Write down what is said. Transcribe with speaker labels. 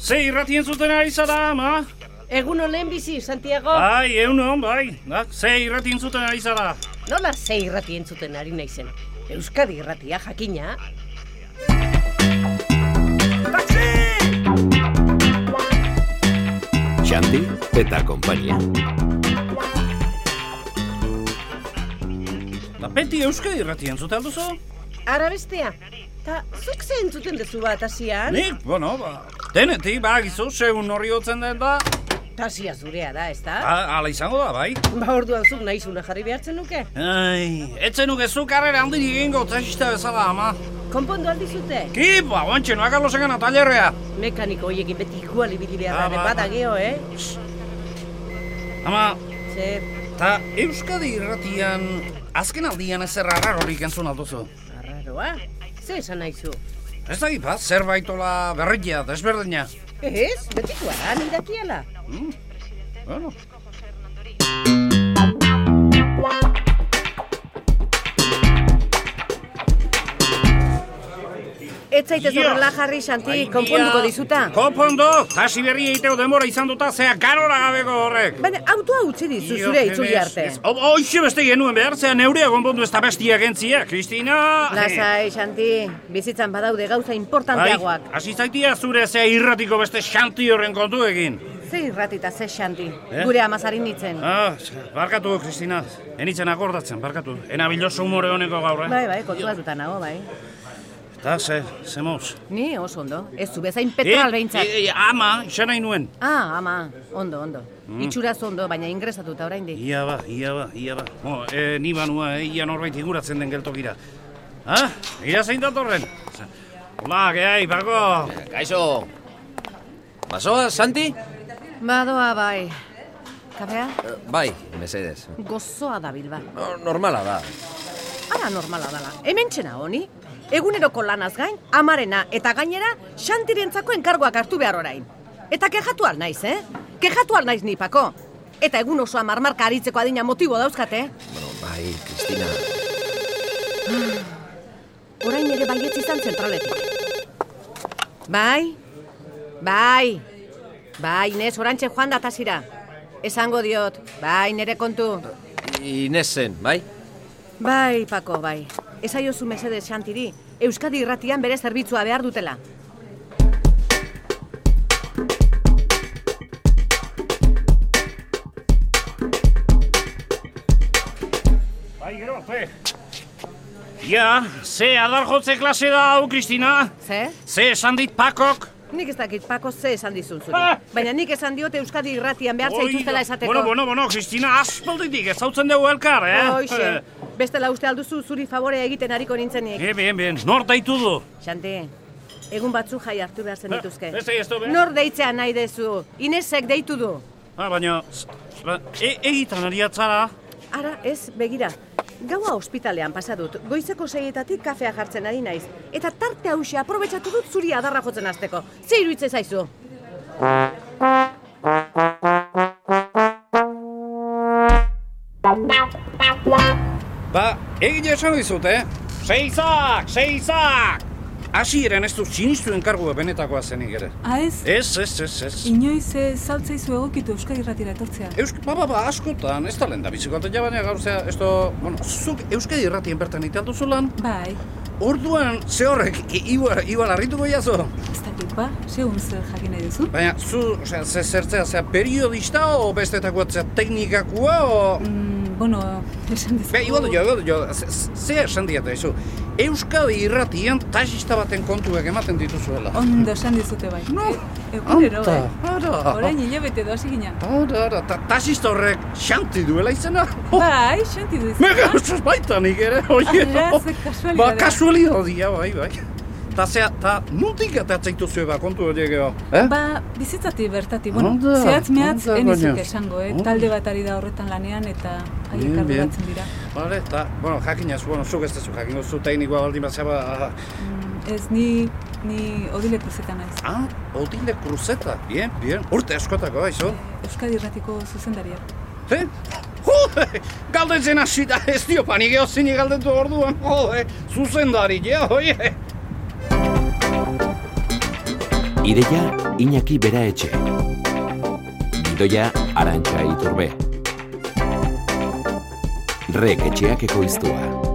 Speaker 1: Ze irratien zuten ari zara, ama?
Speaker 2: Egun olen bizi, Santiago.
Speaker 1: Bai, eunon, bai. Na, ze irratien zuten ari zara.
Speaker 2: Nola ze irrati entzuten ari naizen? Euskadi irratia jakina.
Speaker 3: Xandi eta konpainia.
Speaker 1: Da Ba, beti euskal irratien zuten alduzu?
Speaker 2: Ara bestea. Ta zuk ze entzuten duzu ba, bat asian?
Speaker 1: Nik, bueno, ba, denetik, ba, gizu, segun horri hotzen den da,
Speaker 2: Tasia zurea da, ez da?
Speaker 1: a- ala izango da, bai.
Speaker 2: Ba orduan zuk nahizuna jarri behartzen nuke.
Speaker 1: Ai, etzen nuke zu karrera handi egingo taxista bezala, ama.
Speaker 2: Konpondu aldizute.
Speaker 1: Ki, ba, guantxe, noa Carlos egana tailerrea.
Speaker 2: Mekaniko hoiekin beti igual ibili
Speaker 1: Ah,
Speaker 2: behar da,
Speaker 1: ba,
Speaker 2: bada
Speaker 1: ba.
Speaker 2: geho, eh?
Speaker 1: Ama,
Speaker 2: Zer,
Speaker 1: ta Euskadi irratian, azken aldian ezer arrarorik entzun alduzu.
Speaker 2: arraroa. Ze esan naizu?
Speaker 1: Ez ba, da gipa, zerbaitola berrikia, desberdina.
Speaker 2: Ez, betikoa ah, da, nidakiala.
Speaker 1: Bueno,
Speaker 4: Ez zaitez
Speaker 1: Ia.
Speaker 4: horrela jarri, Santi, konponduko dizuta.
Speaker 2: ah?
Speaker 1: Konpondo, hasi berri egiteo denbora izan duta, zea garora gabeko horrek.
Speaker 4: Baina autoa utzi dizu zure itzuli arte.
Speaker 1: Hoxe beste genuen behar, zea neurea konpondu ez da bestia gentzia, Kristina.
Speaker 4: Lasai, Santi, bizitzan badaude gauza importanteagoak.
Speaker 1: Bai, hasi zaitia zure zea irratiko beste xanti horren kontuekin.
Speaker 4: Ze irratita ze, Santi,
Speaker 1: Bai. Eh?
Speaker 4: gure amazarin nintzen.
Speaker 1: Ah, barkatu, Kristina. Enitzen akordatzen, barkatu. Ena biloso humore honeko gaur, eh?
Speaker 4: Bai, bai, kontuatuta nago, bai.
Speaker 1: Ta, ze, ze moz.
Speaker 4: Ni oso ondo, ez zu bezain petral behintzat.
Speaker 1: Eh, eh, ama, izan nahi nuen.
Speaker 4: Ah, ama, ondo, ondo.
Speaker 1: Mm.
Speaker 4: Itxuraz ondo, baina ingresatuta oraindik.
Speaker 1: Ia ba, ia ba, ia ba. Bo, eh, ni banua, eh, ia norbait iguratzen den geltokira. Ha? Ia zein datorren? Hola, gehi, bako.
Speaker 3: Kaixo! Basoa, Santi?
Speaker 4: Badoa, bai. Kafea,
Speaker 3: Eh, Bai, mesedez.
Speaker 4: gozoa da bilba.
Speaker 3: No, normala da.
Speaker 4: Ara normala dala, hemen txena honi. Eguneroko lanaz gain, amarena eta gainera, xantirentzako enkargoak hartu behar orain. Eta kejatu al naiz, eh? Kejatu al naiz nipako. Eta egun osoa marmarka aritzeko adina motibo dauzkate.
Speaker 3: Bueno, bai, Kristina.
Speaker 4: Orain ere baietz izan zentraletik. Bai, bai, bai, Inez, orantxe joan datazira. Esango diot, bai, nere kontu.
Speaker 3: Inesen, bai?
Speaker 4: Bai, Pako, bai. Esaiozu mesedez xantiri, Euskadi irratian bere zerbitzua behar dutela.
Speaker 1: Bai, gero, fe. Ia, ze adar jotze klase da, hau, Kristina?
Speaker 4: Ze?
Speaker 1: Ze esan dit pakok?
Speaker 4: Nik ez dakit, Pako, ze esan dizun zuri.
Speaker 1: Ah!
Speaker 4: Baina nik esan diote Euskadi irratian behar
Speaker 1: Oida.
Speaker 4: zaituztela esateko.
Speaker 1: Bueno, bueno, bueno, Kristina, aspalditik ezautzen dugu elkar, eh?
Speaker 4: Hoxe, bestela uste alduzu zuri favorea egiten hariko nintzenik.
Speaker 1: Eh, bien, bien, nor daitu du?
Speaker 4: Xante, egun batzu jai hartu behar zenituzke.
Speaker 1: Ba, beste ez du, be.
Speaker 4: Nor deitzea nahi dezu, Inesek deitu du.
Speaker 1: Ah, baina, z- ba, e, egitan ari atzara.
Speaker 4: Ara, ez, begira, gaua ospitalean pasa dut, goizeko seietatik kafea jartzen ari naiz. Eta tarte hausia aprobetsatu dut zuri adarra jotzen hasteko. Ze iruditzen zaizu?
Speaker 1: Ba, egile esan dizut, eh? Seizak, seizak! Hasieran ez du sinistu enkargua benetakoa zenik ere.
Speaker 5: Ah, ez?
Speaker 1: Ez, ez, ez, ez.
Speaker 5: Inoiz ez saltzaizu egokitu Euskadi irratira etortzea.
Speaker 1: Eusk, ba, ba, ba, askotan, ez da lehen da biziko atea baina gauzea, ez da, bueno, zuk Euskadi irratien bertan itean duzu lan,
Speaker 5: Bai,
Speaker 1: orduan ze horrek i- iba, iba larrituko jazo.
Speaker 5: ez dakit ba, segun zer jakin nahi duzu?
Speaker 1: Baina, zu, osea, ze zertzea, zea, periodista, o bestetakoa, zea, teknikakoa, o...
Speaker 5: Mm, bueno, esan dizu.
Speaker 1: Be, igual, jo, igual, jo, ze- ze- ze esan diate, izu, Euskadi irratian taxista baten kontuak ematen dituzuela.
Speaker 5: Ondo esan dizute bai. No, egunero,
Speaker 1: anta, Ah,
Speaker 5: eh?
Speaker 1: ara.
Speaker 5: Orain hilabete doa ginen.
Speaker 1: Ara, ara, ta, taxista horrek xanti duela izena. Oh,
Speaker 5: Bai, xanti du izan.
Speaker 1: Mega usuz baita nik ere, oie.
Speaker 5: Ara, Ah, ze kasualidadea.
Speaker 1: Ba, kasualidadia, bai, bai. Ta zea, ta nuntik atatzaitu zue ba, kontu horiek ego. Eh?
Speaker 5: Ba, bizitzati bertati, bueno,
Speaker 1: Ondo,
Speaker 5: zehatz mehatz
Speaker 1: ondo,
Speaker 5: enizuk
Speaker 1: baina.
Speaker 5: esango, eh?
Speaker 1: Ondo.
Speaker 5: Talde bat ari da horretan lanean eta haiek
Speaker 1: Bien, bien.
Speaker 5: arduratzen dira.
Speaker 1: Bale, ta, bueno, jakinaz, bueno, zuk ez dezu jakingo zu teknikoa baldin bat ba,
Speaker 5: Mm, Ez, ni, ni odile kruzetan naiz.
Speaker 1: ah, Odile Cruzeta, bien, bien, urte askotako, bai, haizu.
Speaker 5: Eh, Euskadi irratiko zuzendaria.
Speaker 1: Eh? Jo, galdetzen hasi da, ez dio ba, panik eozini galdetu orduan, jo, eh, zuzendari, ja, oie.
Speaker 6: Ideia Iñaki Bera Etxe. Gidoia Arantxa Iturbe. Rek etxeak ekoiztua.